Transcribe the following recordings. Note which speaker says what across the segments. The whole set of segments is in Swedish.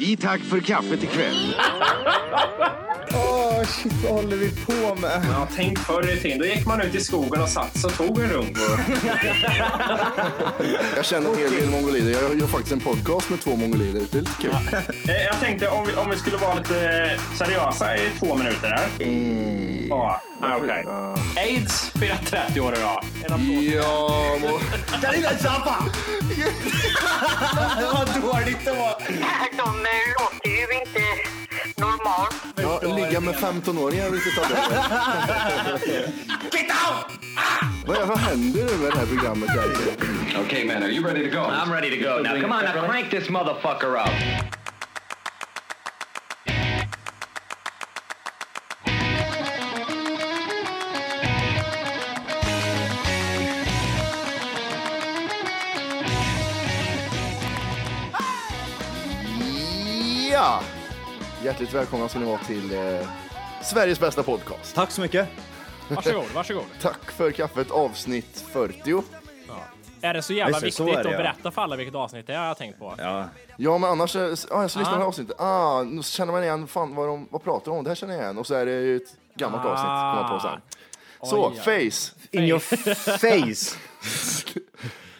Speaker 1: I tack för kaffet ikväll.
Speaker 2: Åh, shit, vad håller vi på med?
Speaker 3: Ja, tänk förr i tiden. Då gick man ut i skogen och satt sig och tog en runk.
Speaker 4: Jag känner en hel del mongolider. Jag gör faktiskt en podcast med två mongolider. Det är lite kul.
Speaker 3: Eh, Jag tänkte om vi, om vi skulle vara lite eh, seriösa i två minuter här. Ja, ah, okej. Aids firar 30 år idag. En applåd.
Speaker 4: Ja, må...
Speaker 2: Vad dåligt det var!
Speaker 5: De eh, låter ju inte normalt.
Speaker 4: ja, ligga med 15-åringar är riktigt avgörande.
Speaker 2: Get out!
Speaker 4: Vad, vad händer nu med det här programmet? egentligen?
Speaker 6: Okay, man, are you ready to go?
Speaker 7: I'm ready to go. Now, come on, now crank this motherfucker up.
Speaker 4: Ja! Hjärtligt välkomna ska ni vara till eh, Sveriges bästa podcast.
Speaker 2: Tack så mycket.
Speaker 8: Varsågod, varsågod.
Speaker 4: Tack för kaffet avsnitt 40.
Speaker 8: Är det så jävla
Speaker 2: Just det,
Speaker 8: viktigt
Speaker 2: så är det,
Speaker 8: att
Speaker 2: ja.
Speaker 8: berätta för alla vilket avsnitt det är jag har tänkt på?
Speaker 2: Ja.
Speaker 4: Ja, men annars... eh, s- Ah, jag ska lyssna på det här
Speaker 8: Ah.
Speaker 4: avsnittet. Ah, nu känner man igen, fan vad, de, vad pratar de om? Det här känner jag igen. Och så är det ju ett gammalt avsnitt, kommer jag på sen. Så, face.
Speaker 2: In your face.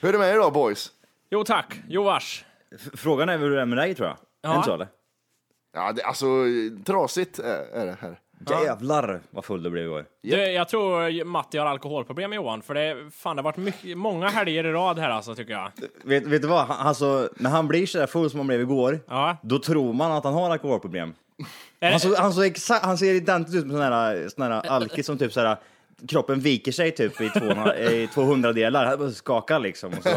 Speaker 4: Hur är det med er idag boys?
Speaker 8: Jo tack, jo vars.
Speaker 2: F- Frågan är hur det är med dig tror jag.
Speaker 8: Ja.
Speaker 2: Är det så eller?
Speaker 4: Ja, det, alltså, trasigt är, är det här.
Speaker 2: Jävlar vad full du blev igår.
Speaker 8: Du, jag tror eh, Matti har alkoholproblem Johan, för det, fan, det har varit mycket, många helger i rad här alltså tycker jag.
Speaker 2: Vet, vet du vad? Han, alltså, när han blir sådär full som han blev igår,
Speaker 8: Ja.
Speaker 2: då tror man att han har alkoholproblem.
Speaker 8: Är
Speaker 2: Han,
Speaker 8: det,
Speaker 2: så, han, så exa- han ser identiskt ut med sån här, sån här alkis som typ så här, kroppen viker sig typ i, två, i 200 delar. Han bara skakar liksom. Och så.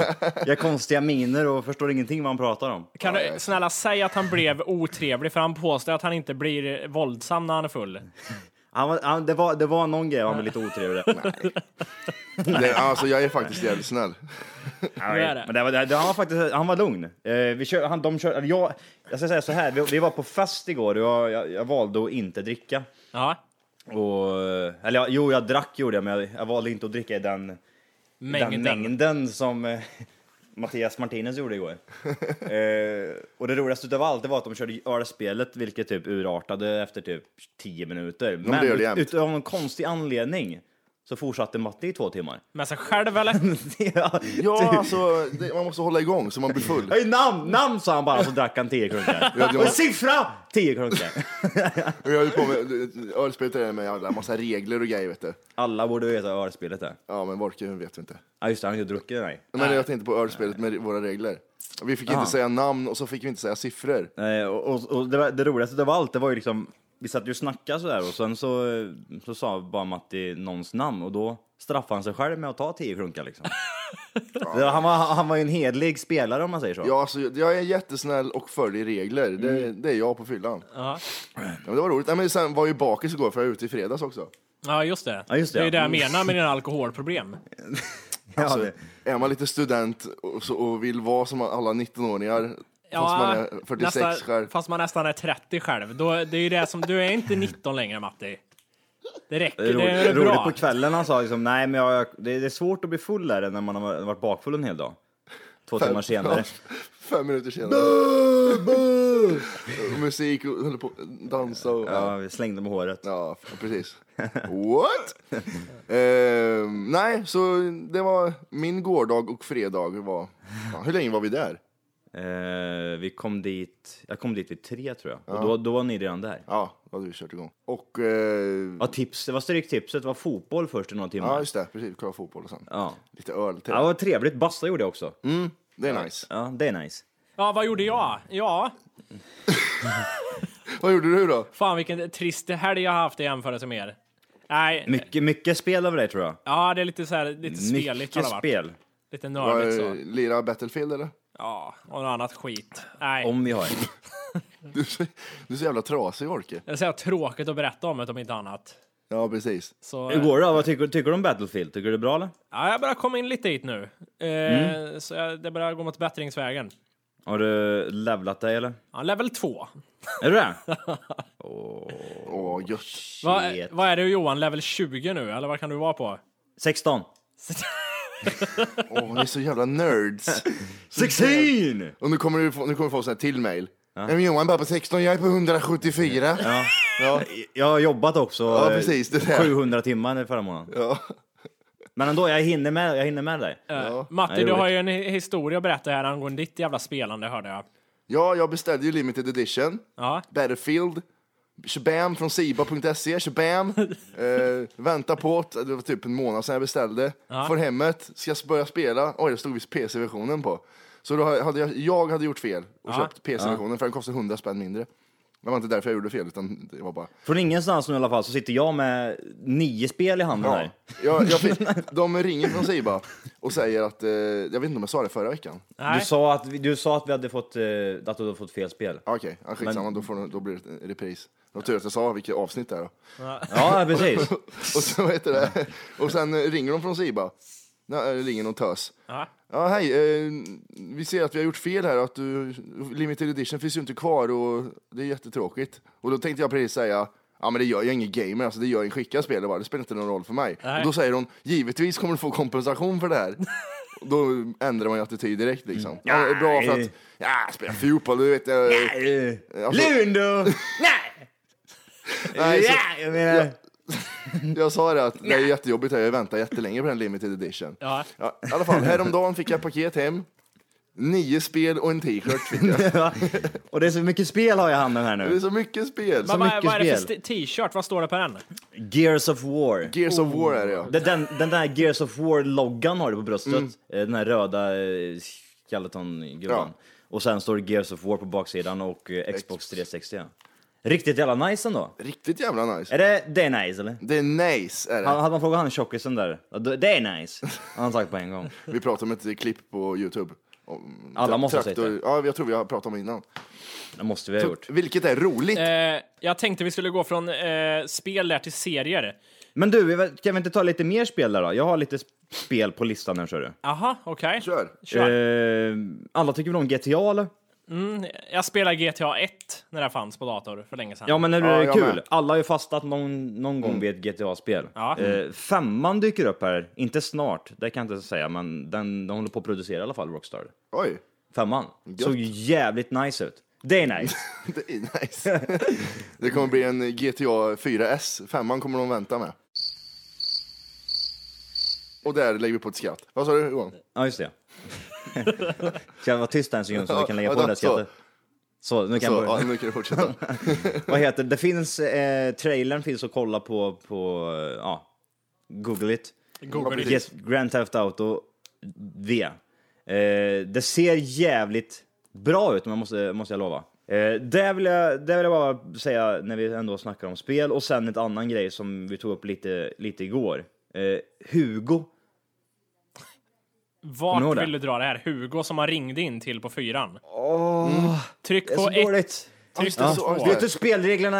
Speaker 2: Gör konstiga miner och förstår ingenting vad han pratar om.
Speaker 8: kan du snälla säga att han blev otrevlig, för han påstår att han inte blir våldsam när han är full.
Speaker 2: Han, var- han, det, var, det var någon grej han blev lite otrevlig.
Speaker 4: Det, alltså, jag är faktiskt jävligt snäll.
Speaker 8: Det är det.
Speaker 2: Men det var, det, det- han var faktiskt, han var lugn. Eh, vi kör, han, de kör, eller jag, jag ska säga så här, vi, vi var på fest igår och jag, jag, jag valde att inte dricka.
Speaker 8: Ja.
Speaker 2: Och, eh, eller jag- jo, jag drack gjorde jag, men jag, jag valde inte att dricka i den
Speaker 8: Mängden.
Speaker 2: den mängden som eh, Mattias Martinez gjorde igår. eh, och det roligaste utav allt det var att de körde ölspelet, vilket typ urartade efter typ 10 minuter. Men
Speaker 4: det gör det
Speaker 2: ut,
Speaker 4: jämt.
Speaker 2: utav någon konstig anledning så fortsatte Matti i två timmar.
Speaker 8: Med sig själv eller?
Speaker 2: ja,
Speaker 4: Ja, alltså, det, man måste hålla igång så man blir full.
Speaker 2: Hej, namn, namn sa han bara, så drack han 10 klunkar.
Speaker 4: det var-
Speaker 2: Och siffra! 10 klunkar.
Speaker 4: Jag höll på med ölspelet är det med jävla massa regler och grejer, vet du.
Speaker 2: Alla borde veta vad ölspelet är.
Speaker 4: Ja, men Wolke vet vi inte.
Speaker 2: Ja, just det, han har ju druckit nej.
Speaker 4: Men jag tänkte på ölspelet med våra regler. Vi fick
Speaker 2: Aha.
Speaker 4: inte säga namn och så fick vi inte säga siffror.
Speaker 2: Eh, och, och, och det, var, det roligaste av allt, det var ju liksom, vi satt ju och snackade sådär och sen så, eh, så sa bara Matti någons namn och då straffade han sig själv med att ta tio klunkar liksom. Det- han, var, han var ju en hedlig spelare om man säger så.
Speaker 4: Ja, alltså, jag är jättesnäll och följer regler. Det, det är jag på fyllan.
Speaker 8: Ja.
Speaker 4: Ja, men det var roligt. Nej, men sen var jag ju bakis igår för jag var ute i fredags också.
Speaker 8: Ja just det.
Speaker 2: Ja, just det,
Speaker 8: det är ju
Speaker 2: ja. Mm.
Speaker 8: det jag menar med dina alkoholproblem.
Speaker 2: Ja,
Speaker 4: Alltså,
Speaker 2: det-
Speaker 4: Är man lite student och, så, och vill vara som alla 19-åringar fast man är 46 själv.
Speaker 8: fast man nästan är 30 själv. Då, det är ju det som, du är inte 19 längre Matti. Det räcker, det
Speaker 2: roligt,
Speaker 8: är
Speaker 2: roligt
Speaker 8: bra.
Speaker 2: på kvällen han sa liksom, nej men jag, jag, det, det är svårt att bli full där när man har varit bakfull en hel dag. Två timmar senare.
Speaker 4: Fem minuter senare. Och Musik och höll på att dansa och...
Speaker 2: Ja,
Speaker 4: Ja,
Speaker 2: vi slängde med håret.
Speaker 4: ja precis. What? Ehm, nej, så det var min gårdag och fredag. Var, ja, hur länge var vi där?
Speaker 2: Eh, vi kom dit, jag kom dit vid tre tror jag. Och då, då var ni redan där.
Speaker 4: Ja, då hade vi kört igång. Och... Eh,
Speaker 2: Ja, tips, det var stryktipset, det var fotboll först i några timmar.
Speaker 4: ja, just det. Precis. Kolla fotboll och sen.
Speaker 2: Ja.
Speaker 4: Lite öl till.
Speaker 2: Ja, det var trevligt. Basta gjorde jag också.
Speaker 4: Mm. Det är nice.
Speaker 2: Ja, det är nice.
Speaker 8: Ja, vad gjorde jag? Ja,
Speaker 4: Vad gjorde du då?
Speaker 8: fan vilken trist helg jag har haft i jämförelse med er. Nej,
Speaker 2: Mycket, mycket spel över dig tror jag.
Speaker 8: ja det är lite så här, lite speligt har
Speaker 2: mycket
Speaker 8: det varit.
Speaker 2: spel.
Speaker 8: Lite
Speaker 4: Var det
Speaker 8: nördigt så.
Speaker 4: eh, lira Battlefield eller?
Speaker 8: Ja, och något annat skit. Nej,
Speaker 2: Om vi har.
Speaker 4: Du är så, du är så jävla trasig Orke.
Speaker 8: det är så här tråkigt att berätta om det om inte annat.
Speaker 4: Ja, precis.
Speaker 8: Så,
Speaker 2: Hur går det då? Vad tycker, tycker du om Battlefield? Tycker du det är bra eller?
Speaker 8: ja, jag börjar komma in lite hit nu. Eh,
Speaker 2: Mm.
Speaker 8: Så jag, det börjar gå mot bättringsvägen.
Speaker 2: Har du levlat dig eller?
Speaker 8: Ja, level 2.
Speaker 2: Är du det?
Speaker 4: Åh, gött.
Speaker 8: Vad
Speaker 2: Shit.
Speaker 8: vad är du Johan, level 20 nu? Eller vad kan du vara på?
Speaker 2: 16.
Speaker 4: Åh, ni är så jävla nerds.
Speaker 2: 16!
Speaker 4: Och nu kommer du få, nu kommer du få sån här till mail. Men Johan bara på 16, jag är på 174. Ja, ja.
Speaker 2: Jag har jobbat också
Speaker 4: Ja,
Speaker 2: eh,
Speaker 4: precis, det där.
Speaker 2: 700 timmar förra månaden. Men ändå, jag hinner med, jag hinner med dig.
Speaker 8: Eh, Matti,
Speaker 2: Nej,
Speaker 8: du
Speaker 2: roligt.
Speaker 8: har ju en hi- historia att berätta här angående ditt jävla spelande hörde jag.
Speaker 4: ja jag beställde ju limited edition.
Speaker 8: Ja.
Speaker 4: Battlefield. Shabam från siba.se, Shabam. Eh, vänta på att- det var typ en månad sedan jag beställde. Får hemmet, ska jag börja spela. Oj, det stod visst PC-versionen på. Så då hade jag, jag hade gjort fel och köpt PC-versionen för den kostade 100 spänn mindre. Det var inte därför jag gjorde fel utan det var bara...
Speaker 2: Från ingenstans nu i alla fall så sitter jag med nio spel i handen
Speaker 4: Ja.
Speaker 2: här.
Speaker 4: Jag, jag fick, de ringer från Siba och säger att, eh, jag vet inte om jag sa det förra veckan.
Speaker 8: Nej.
Speaker 2: Du sa, att, vi- du sa att vi hade fått, eh, att du hade fått fel spel.
Speaker 4: Ah, Okej, okay. skitsamma, då, får, de- då blir det en repris. Det var tur att jag sa vilket avsnitt det är då.
Speaker 2: Ja, precis.
Speaker 4: och, så, vet du det? och sen eh, ringer de från Siba. Nej, det ringer någon tös.
Speaker 8: Ja.
Speaker 4: Ja, hej. Eh, vi ser att vi har gjort fel här. Att du, limited edition finns ju inte kvar och det är jättetråkigt. Och då tänkte jag precis säga, ja men det gör jag ingen gamer, alltså det gör en skickad spelare bara. Det spelar inte någon roll för mig.
Speaker 8: Nej.
Speaker 4: Och då säger hon, givetvis kommer du få kompensation för det här. Och då ändrar man ju attityd direkt liksom.
Speaker 8: Mm.
Speaker 4: Ja, det är bra för att, ja, jag spelar fotboll, du vet. Jag, alltså-
Speaker 2: Lundo!
Speaker 4: nej, så,
Speaker 2: Ja, jag menar...
Speaker 4: Jag sa det att det är jättejobbigt här, jag väntar jättelänge på den limited edition.
Speaker 8: Ja.
Speaker 4: Ja, I alla fall, häromdagen fick jag ett paket hem. Nio spel och en t-shirt fick jag.
Speaker 2: Och det är så mycket spel har jag i handen här
Speaker 4: Det är
Speaker 2: nu.
Speaker 4: så mycket spel.
Speaker 8: Men
Speaker 4: Som
Speaker 8: vad,
Speaker 2: mycket
Speaker 8: vad är det för
Speaker 2: spel.
Speaker 8: sti- t-shirt? Vad står det på den?
Speaker 2: Gears of War.
Speaker 4: Gears of War är det ja.
Speaker 2: Den, den, den där Gears of War-loggan har du på bröstet.
Speaker 4: Mm.
Speaker 2: Eh, Den här röda eh, skeleton-gubben.
Speaker 4: Ja.
Speaker 2: Och sen står det Gears of War på baksidan och eh, Xbox
Speaker 4: Xbox.
Speaker 2: 360. ja. Riktigt jävla nice ändå.
Speaker 4: Riktigt jävla nice.
Speaker 2: Är det, det är nice eller?
Speaker 4: Det är nice är
Speaker 2: Han,
Speaker 4: det.
Speaker 2: hade man frågat han tjockisen där, ja, det det är nice, har han sagt på en gång.
Speaker 4: Vi pratade om ett klipp på Youtube. Om
Speaker 2: Alla
Speaker 4: tra-
Speaker 2: måste ha sett
Speaker 4: traktor- Ja, jag tror vi har pratat om det innan.
Speaker 2: Det måste vi ha gjort.
Speaker 4: Vilket är roligt.
Speaker 8: Eh, jag tänkte vi skulle gå från eh, spel där till serier.
Speaker 2: Men du, vi- kan vi inte ta lite mer spel där då? Jag har lite sp- spel på listan här ser du.
Speaker 8: Aha, okej.
Speaker 4: Kör.
Speaker 8: Kör.
Speaker 2: Eh, alla tycker väl om GTA eller?
Speaker 8: Jag spelade GTA 1 när det fanns på dator för länge sedan.
Speaker 2: Ja men är det
Speaker 4: Ja, jag
Speaker 2: kul?
Speaker 4: med.
Speaker 2: Alla har ju fastnat någon, någon gång vid ett GTA-spel.
Speaker 8: Ja.
Speaker 4: Mm.
Speaker 2: Eh, femman dyker upp här, inte snart, det kan jag inte säga, men den, de håller på att producera i alla fall, Rockstar.
Speaker 4: Oj.
Speaker 2: Femman. Såg ju jävligt nice ut. Det är nice.
Speaker 4: Det är nice. det kommer bli en GTA 4S. Femman kommer de vänta med. Och där lägger vi på ett skratt. Vad sa du Johan?
Speaker 2: Ja, just det. Ska jag vara tyst en sekund så vi kan lägga på
Speaker 4: Ja,
Speaker 2: det där
Speaker 4: så.
Speaker 2: skrattet? Så, nu kan
Speaker 4: Så,
Speaker 2: jag
Speaker 4: ja,
Speaker 2: börja.
Speaker 4: nu kan du fortsätta.
Speaker 2: Vad heter det? Det finns, eh, trailern finns att kolla på, på, eh, ja, google it.
Speaker 8: Google
Speaker 4: precis.
Speaker 8: it.
Speaker 2: Yes, Grand Theft Auto V. Eh, det ser jävligt bra ut, men måste, måste jag lova. Eh, det, vill jag, det vill jag bara säga när vi ändå snackar om spel. Och sen ett annan grej som vi tog upp lite, lite igår. Eh, Hugo. Kommer du ihåg
Speaker 8: Vart
Speaker 2: det?
Speaker 8: vill du dra det här? Hugo som man ringde in till på fyran.
Speaker 2: Åh,
Speaker 8: Tryck
Speaker 2: Mm. så
Speaker 8: på ett.
Speaker 2: dåligt.
Speaker 8: Tryck
Speaker 4: Ja,
Speaker 8: på
Speaker 4: just det,
Speaker 8: två.
Speaker 4: så-
Speaker 2: Vet du hur spelreglerna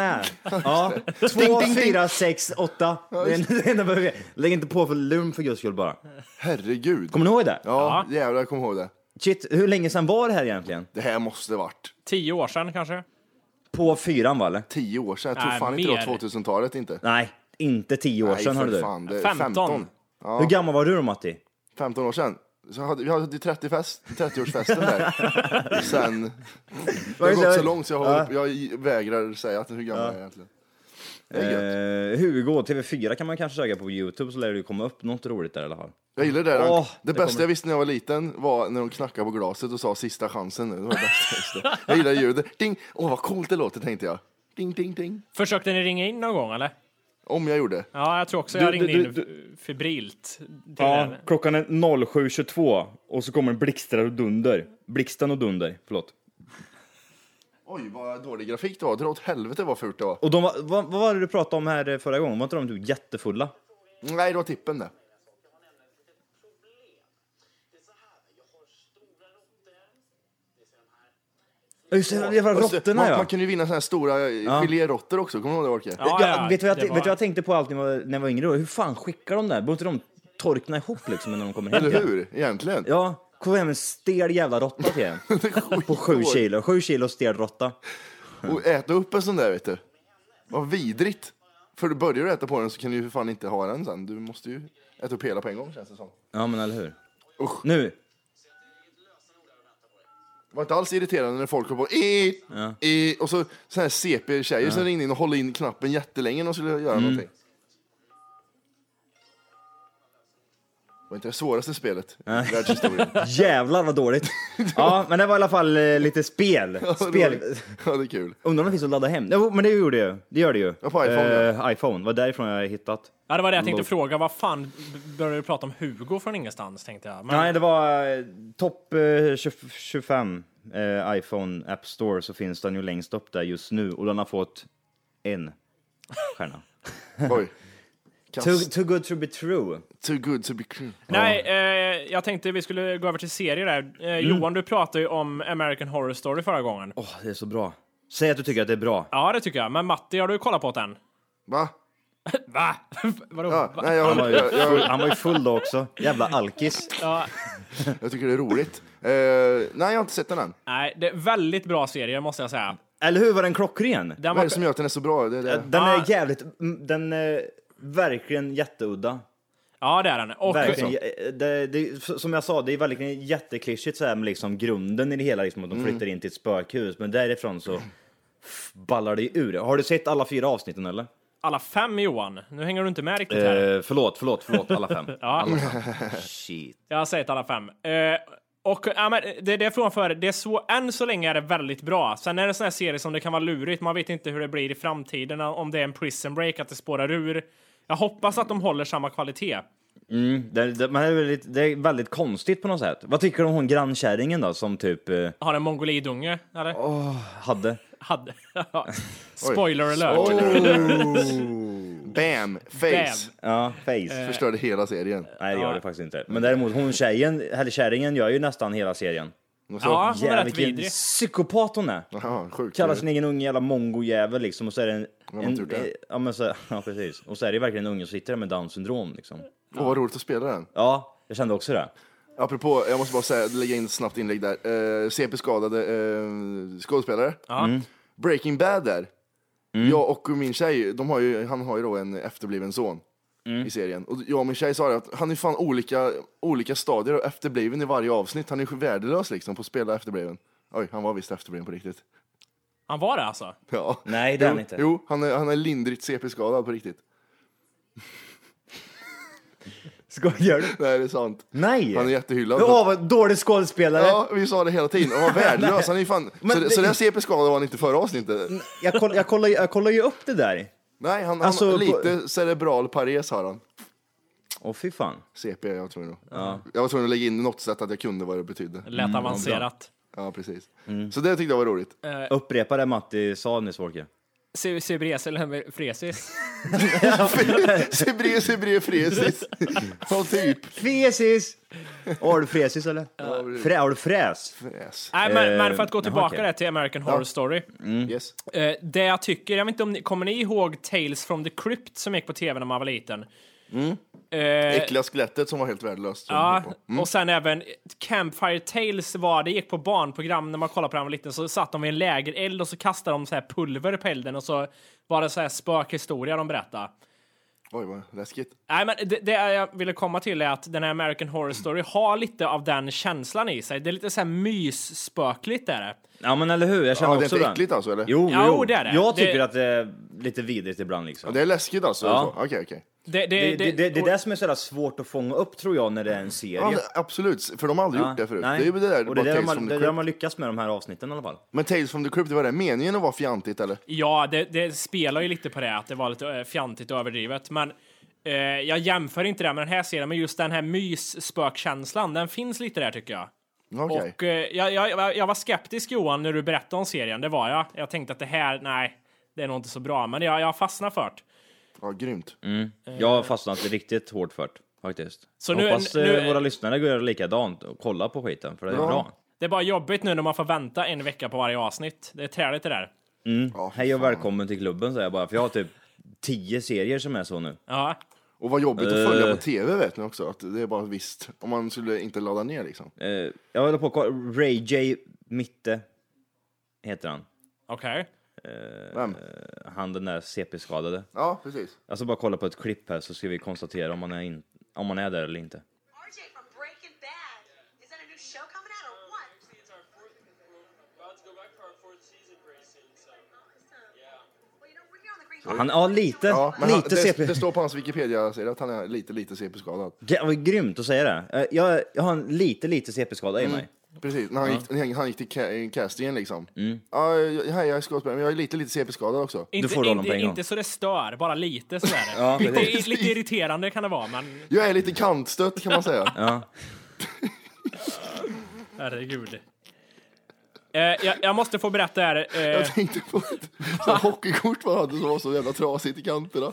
Speaker 2: är? Ja.
Speaker 4: Ding,
Speaker 2: två,
Speaker 4: ding, ding.
Speaker 2: fyra, sex, åtta. Det är det enda vi vet. Lägg inte på för lugn för guds skull bara.
Speaker 4: Herregud.
Speaker 2: Kommer ni ihåg det?
Speaker 4: Ja, jävlar jag kommer ihåg det.
Speaker 2: Shit, hur länge sedan var det här egentligen?
Speaker 4: Det här måste varit
Speaker 8: Tio år sedan kanske?
Speaker 2: På fyran va eller?
Speaker 4: tio år sedan. Jag tror
Speaker 8: Nej,
Speaker 4: fan inte det
Speaker 8: mer.
Speaker 4: var 2000-talet inte.
Speaker 2: Nej, inte tio år sedan
Speaker 4: Nej,
Speaker 2: hörde
Speaker 4: för
Speaker 2: du.
Speaker 4: fan. Det är
Speaker 8: 15.
Speaker 4: 15.
Speaker 2: Hur gammal var du då Matti?
Speaker 4: 15 år sedan. Så hade, vi hade 30-fest, 30-årsfesten där. Sen, det har
Speaker 2: just
Speaker 4: gått
Speaker 2: det.
Speaker 4: så långt så jag, håller, jag vägrar säga att hur gammal jag är egentligen. Det är gött.
Speaker 2: Eh, Hugo, TV4 kan man kanske söka på Youtube så lär det ju komma upp något roligt där i alla fall.
Speaker 4: Jag gillar det.
Speaker 2: åh,
Speaker 4: det
Speaker 2: det
Speaker 4: bästa
Speaker 2: kommer-
Speaker 4: jag visste när jag var liten var när de knackade på glaset och sa sista chansen nu. Det var det bästa jag visste. Jag gillar ljudet. Ding! Åh, vad coolt det låter tänkte jag. Ding, ding, ding.
Speaker 8: Försökte ni ringa in någon gång eller?
Speaker 4: Om jag gjorde.
Speaker 8: Ja, jag tror också
Speaker 2: Du-
Speaker 8: jag ringde
Speaker 2: du-
Speaker 8: in
Speaker 2: du-
Speaker 8: febrilt. Till den.
Speaker 2: klockan är 07.22 och så kommer blixtrar och dunder. Blixten och dunder, förlåt.
Speaker 4: Oj, vad dålig grafik det var. Dra åt helvete vad fult det var.
Speaker 2: Och de var, vad, vad var det du pratade om här eh, förra gången? Var inte de typ jättefulla?
Speaker 4: Nej, det var tippen det.
Speaker 2: Ja, Just det, det var
Speaker 4: Och så-
Speaker 2: råttorna
Speaker 4: man,
Speaker 2: ja.
Speaker 4: man kunde ju vinna såna här stora ja. geléråttor också. Kommer du ihåg det, Orke?
Speaker 8: Ja,
Speaker 2: jag,
Speaker 8: ja,
Speaker 2: vet du vad
Speaker 8: det
Speaker 2: jag,
Speaker 8: var-
Speaker 2: vet du vad jag tänkte på allt när jag var- när jag var yngre? då? Hur fan skickar de där? Borde inte de torkna ihop liksom när de kommer hem?
Speaker 4: Eller hur? Egentligen.
Speaker 2: Ja, kom hem en stel jävla råtta till en. På sju
Speaker 4: Skitdåligt.
Speaker 2: kilo. Sju kilo stel råtta.
Speaker 4: Och äta upp en sån där, vet du. Vad vidrigt. För du börjar du äta på den så kan du ju för fan inte ha den sen. Du måste ju äta upp hela på en gång känns det som.
Speaker 2: Ja, men eller hur?
Speaker 4: Usch.
Speaker 2: Nu.
Speaker 4: Det var inte alls irriterande när folk höll på i, i, och så sån här CP-tjejer som ringde in och håller in knappen jättelänge när de skulle göra
Speaker 2: Mm.
Speaker 4: någonting. Det var inte det svåraste spelet i världshistorien.
Speaker 2: Jävlar vad dåligt. Ja, men det var i alla fall eh, lite spel. spel.
Speaker 4: ja, det är kul.
Speaker 2: Undrar om det finns att ladda hem? Jo, men det gjorde det ju. Det gör det ju.
Speaker 4: Ja, på iPhone,
Speaker 2: Eh, iPhone, var därifrån jag hittat.
Speaker 8: Ja, det var det jag tänkte
Speaker 2: Lol.
Speaker 8: fråga. Vad fan b- började du prata om Hugo från ingenstans tänkte jag. Men,
Speaker 2: Nej, det var eh, topp eh, 20 25 eh, iPhone App Store så finns den ju längst upp där just nu och den har fått en stjärna.
Speaker 4: Oj.
Speaker 2: Too,
Speaker 4: Kast,
Speaker 2: too good to be true.
Speaker 4: too good to be true.
Speaker 8: nej eh, jag tänkte vi skulle gå över till serier där. Eh, Johan, du pratade ju om American Horror Story förra gången.
Speaker 2: Åh, det är så bra. Säg att du tycker att det är bra.
Speaker 8: Ja, det tycker jag. Men Matti, har du kollat på den?
Speaker 4: Va?
Speaker 8: Va? Vadå?
Speaker 4: Ja,
Speaker 8: Va?
Speaker 4: nej, jag,
Speaker 2: Han var
Speaker 4: jag,
Speaker 2: ju
Speaker 4: jag,
Speaker 2: full, han var ju full då också. Jävla alkis.
Speaker 8: Ja,
Speaker 4: jag tycker det är roligt. Eh, nej, jag har inte sett den än.
Speaker 8: nej, det är väldigt bra serie måste jag säga.
Speaker 2: Eller hur? Var den klockren?
Speaker 8: Den
Speaker 4: Vad är
Speaker 8: var,
Speaker 4: det som gör att den är så bra? Det, är det.
Speaker 2: Den
Speaker 8: Ja.
Speaker 2: är jävligt... mm, Den är verkligen jätteudda.
Speaker 8: ja, det är den. Och,
Speaker 2: Verkligen. jä- Det, det, som jag sa, det är verkligen jätteklyschigt så här med liksom grunden i det hela, liksom, att de flyttar in till ett spökhus. Men därifrån så f- ballar det ju ur. Har du sett alla fyra avsnitten eller?
Speaker 8: alla fem Johan. Nu hänger du inte med riktigt här.
Speaker 2: Eh, förlåt, förlåt, förlåt, alla fem. alla fem. Shit.
Speaker 8: Jag har sett alla fem. Eh, och ja, men det, det är frågan för, det är så, än så länge är det väldigt bra. Sen är det sån här serie som det kan vara lurigt, man vet inte hur det blir i framtiden, om det är en prison break, att det spårar ur. Jag hoppas att de håller samma kvalitet.
Speaker 2: Det, det, men det, är väldigt, det är väldigt konstigt på något sätt. Vad tycker du om hon grannkärringen då, som typ eh,
Speaker 8: Har en mongolidunge, eller?
Speaker 2: hade...
Speaker 8: Hade. Spoiler alert.
Speaker 4: Bam! Face!
Speaker 8: Bam.
Speaker 2: Ja, face.
Speaker 4: Förstörde hela serien.
Speaker 2: Nej, det gör det faktiskt inte. Men däremot hon tjejen, eller kärringen, gör ju nästan hela serien.
Speaker 4: Och så-
Speaker 8: Ja, hon är
Speaker 2: Jävlar,
Speaker 8: rätt
Speaker 2: vilken
Speaker 8: vidrig.
Speaker 2: psykopat hon är!
Speaker 4: Jaha, sjukt.
Speaker 2: Kallar sin egen unge jävla mongojävel liksom och så är det en...
Speaker 4: Mm. har
Speaker 2: en
Speaker 4: inte gjort det.
Speaker 2: eh, ja, men så, ja precis. Och så är det verkligen en unge som sitter där med down syndrom liksom.
Speaker 4: Åh, vad roligt att spela den.
Speaker 2: Ja, jag kände också det.
Speaker 4: Apropå, jag måste bara säga, lägga in ett snabbt inlägg där. Eh, CP-skadade eh, skådespelare. Breaking Bad där.
Speaker 2: Mm.
Speaker 4: Jag och min tjej, de har ju, han har ju då en efterbliven son
Speaker 2: Mm.
Speaker 4: i serien. Och jag och min tjej sa det att han är fan olika, olika stadier och efterbliven i varje avsnitt. Han är ju värdelös liksom på att spela efterbliven. Oj, han var visst efterbliven på riktigt.
Speaker 8: Han var det alltså?
Speaker 4: Ja.
Speaker 2: Nej, det är
Speaker 4: Jo,
Speaker 2: han inte.
Speaker 4: Jo, han är, han är lindrigt CP-skadad på riktigt.
Speaker 2: Skojar du?
Speaker 4: Nej, det är sant.
Speaker 2: Nej!
Speaker 4: Han är jättehyllad.
Speaker 2: Åh, vad dålig skådespelare!
Speaker 4: Ja, vi sa det hela tiden. Han var värdelös. Han är ju fan...
Speaker 2: Men
Speaker 4: så, det...
Speaker 2: det-
Speaker 4: så den CP-skadad var han inte förra avsnittet.
Speaker 2: Jag, koll, jag, kollar, ju- jag kollar ju upp det där.
Speaker 4: Nej, han,
Speaker 2: Alltså,
Speaker 4: han
Speaker 2: på-
Speaker 4: lite cerebral pares har han.
Speaker 2: Åh fy fan.
Speaker 4: CP, jag tror nog. Jag var tvungen att lägga in något sätt att jag kunde vad det betydde.
Speaker 8: Lät avancerat.
Speaker 4: Ja, precis.
Speaker 2: Mm.
Speaker 4: Så det tyckte jag var roligt.
Speaker 2: Upprepa det Matti sa nyss Folke.
Speaker 8: Se- Sebres eller Fresis?
Speaker 4: Sebre, sebre, fresis. Som typ.
Speaker 2: Fresis! Åh, har du fresis eller? Frä, har du fräs?
Speaker 4: Yes.
Speaker 8: Nej, men,
Speaker 2: Eh,
Speaker 8: men för att gå
Speaker 2: jaha,
Speaker 8: tillbaka
Speaker 2: okej.
Speaker 8: där till American Horror Story.
Speaker 2: Mm.
Speaker 4: yes.
Speaker 8: Eh, det jag tycker, jag vet inte om ni, kommer ni ihåg Tales from the Crypt som gick på tv när man var liten? Eh,
Speaker 4: Äckliga skelettet som var helt värdelöst. som
Speaker 8: Ja,
Speaker 4: jag kom på.
Speaker 8: och sen även Campfire Tales var, det gick på barnprogram när man kollade på den var liten, så satt de vid en lägereld och så kastade de så här pulver på elden och så var det så här spökhistoria de berättade.
Speaker 4: Oj, vad läskigt.
Speaker 8: Nej, men det, det jag ville komma till är att den här American Horror Story har lite av den känslan i sig. Det är lite så här mysspökligt är det.
Speaker 2: Ja men eller hur, jag känner
Speaker 4: Ja, det är
Speaker 2: också
Speaker 4: inte äckligt alltså, eller?
Speaker 2: Jo,
Speaker 8: Ja,
Speaker 2: jo.
Speaker 8: det är det.
Speaker 2: Jag
Speaker 8: Det-
Speaker 2: tycker att det är lite vidrigt ibland liksom.
Speaker 4: Ja, Det är läskigt alltså?
Speaker 2: Ja.
Speaker 4: så. Okej, okej.
Speaker 8: Det, det,
Speaker 2: Det, det, det, det är
Speaker 8: och-
Speaker 2: det som är så jävla svårt att fånga upp tror jag när det är en serie.
Speaker 4: Ja, det- absolut, för de har aldrig gjort det förut.
Speaker 2: nej.
Speaker 4: Det är ju det där,
Speaker 2: och
Speaker 4: bara
Speaker 2: det är där
Speaker 4: Tales
Speaker 2: man,
Speaker 4: from
Speaker 2: det
Speaker 4: the
Speaker 2: är där
Speaker 4: Crypt.
Speaker 2: man lyckas med de här avsnitten i alla fall.
Speaker 4: Men Tales from the Crypt, det var det meningen att vara fjantigt eller?
Speaker 8: Ja, det, det spelar ju lite på det, att det var lite eh, fjantigt och överdrivet. Men eh, jag jämför inte det med den här serien, men just den här mysspökkänslan, den finns lite där tycker jag.
Speaker 4: Okej.
Speaker 8: Och eh, jag, jag, jag- jag var skeptisk Johan när du berättade om serien, det var jag. Jag tänkte att det här, nej, det är nog inte så bra, men jag, jag fastnar för det.
Speaker 4: Ja, grymt.
Speaker 2: Jag har fastnat riktigt hårt för det faktiskt.
Speaker 8: Eh. Så
Speaker 2: Så
Speaker 8: nu-
Speaker 2: Hoppas eh,
Speaker 8: nu-
Speaker 2: våra lyssnare gör likadant och kollar på skiten för det är
Speaker 4: Ja.
Speaker 2: bra.
Speaker 8: Det är bara jobbigt nu när man får vänta en vecka på varje avsnitt. Det är träligt det där.
Speaker 4: Ja,
Speaker 2: Hej och
Speaker 4: fan.
Speaker 2: välkommen till klubben säger jag bara för jag har typ tio serier som är så nu.
Speaker 8: Ja.
Speaker 4: Och vad jobbigt att följa
Speaker 2: Eh.
Speaker 4: på tv vet ni också, att det är bara visst. Om man skulle inte ladda ner liksom.
Speaker 2: Eh, jag håller på att kolla, Ray J Mitte heter han.
Speaker 8: Okej.
Speaker 4: Vem?
Speaker 2: Han den där CP-skadade.
Speaker 4: Ja, precis.
Speaker 2: Jag ska Alltså, bara kolla på ett klipp här så ska vi konstatera om man är, in, om man är där eller inte.
Speaker 6: RJ from Breaking Bad. Is that a new show coming out or what?
Speaker 2: Han, ja, lite.
Speaker 4: Ja, men
Speaker 2: lite
Speaker 4: han, det,
Speaker 2: CP.
Speaker 4: det står på hans Wikipedia-sida att han är lite, lite CP-skadad.
Speaker 2: Ge- vad Grymt att säga det. Eh, Jag, jag har en lite, lite CP-skada
Speaker 8: Mm.
Speaker 2: i mig.
Speaker 4: Precis, när han, gick, när han gick till ca- castingen liksom.
Speaker 2: Mm.
Speaker 4: Ja, jag, hej, jag är skådespelare, men jag är lite, lite CP-skadad också.
Speaker 8: Inte,
Speaker 2: får du hålla
Speaker 8: inte,
Speaker 2: på en gång.
Speaker 8: inte så det stör, bara lite sådär.
Speaker 2: Ja,
Speaker 8: lite, lite irriterande kan det vara, men
Speaker 4: Jag är lite kantstött kan man säga.
Speaker 8: herregud. Eh, jag, jag måste få berätta här. Eh,
Speaker 4: Jag tänkte på ett sånt här hockeykort man hade som var så jävla trasigt i kanterna.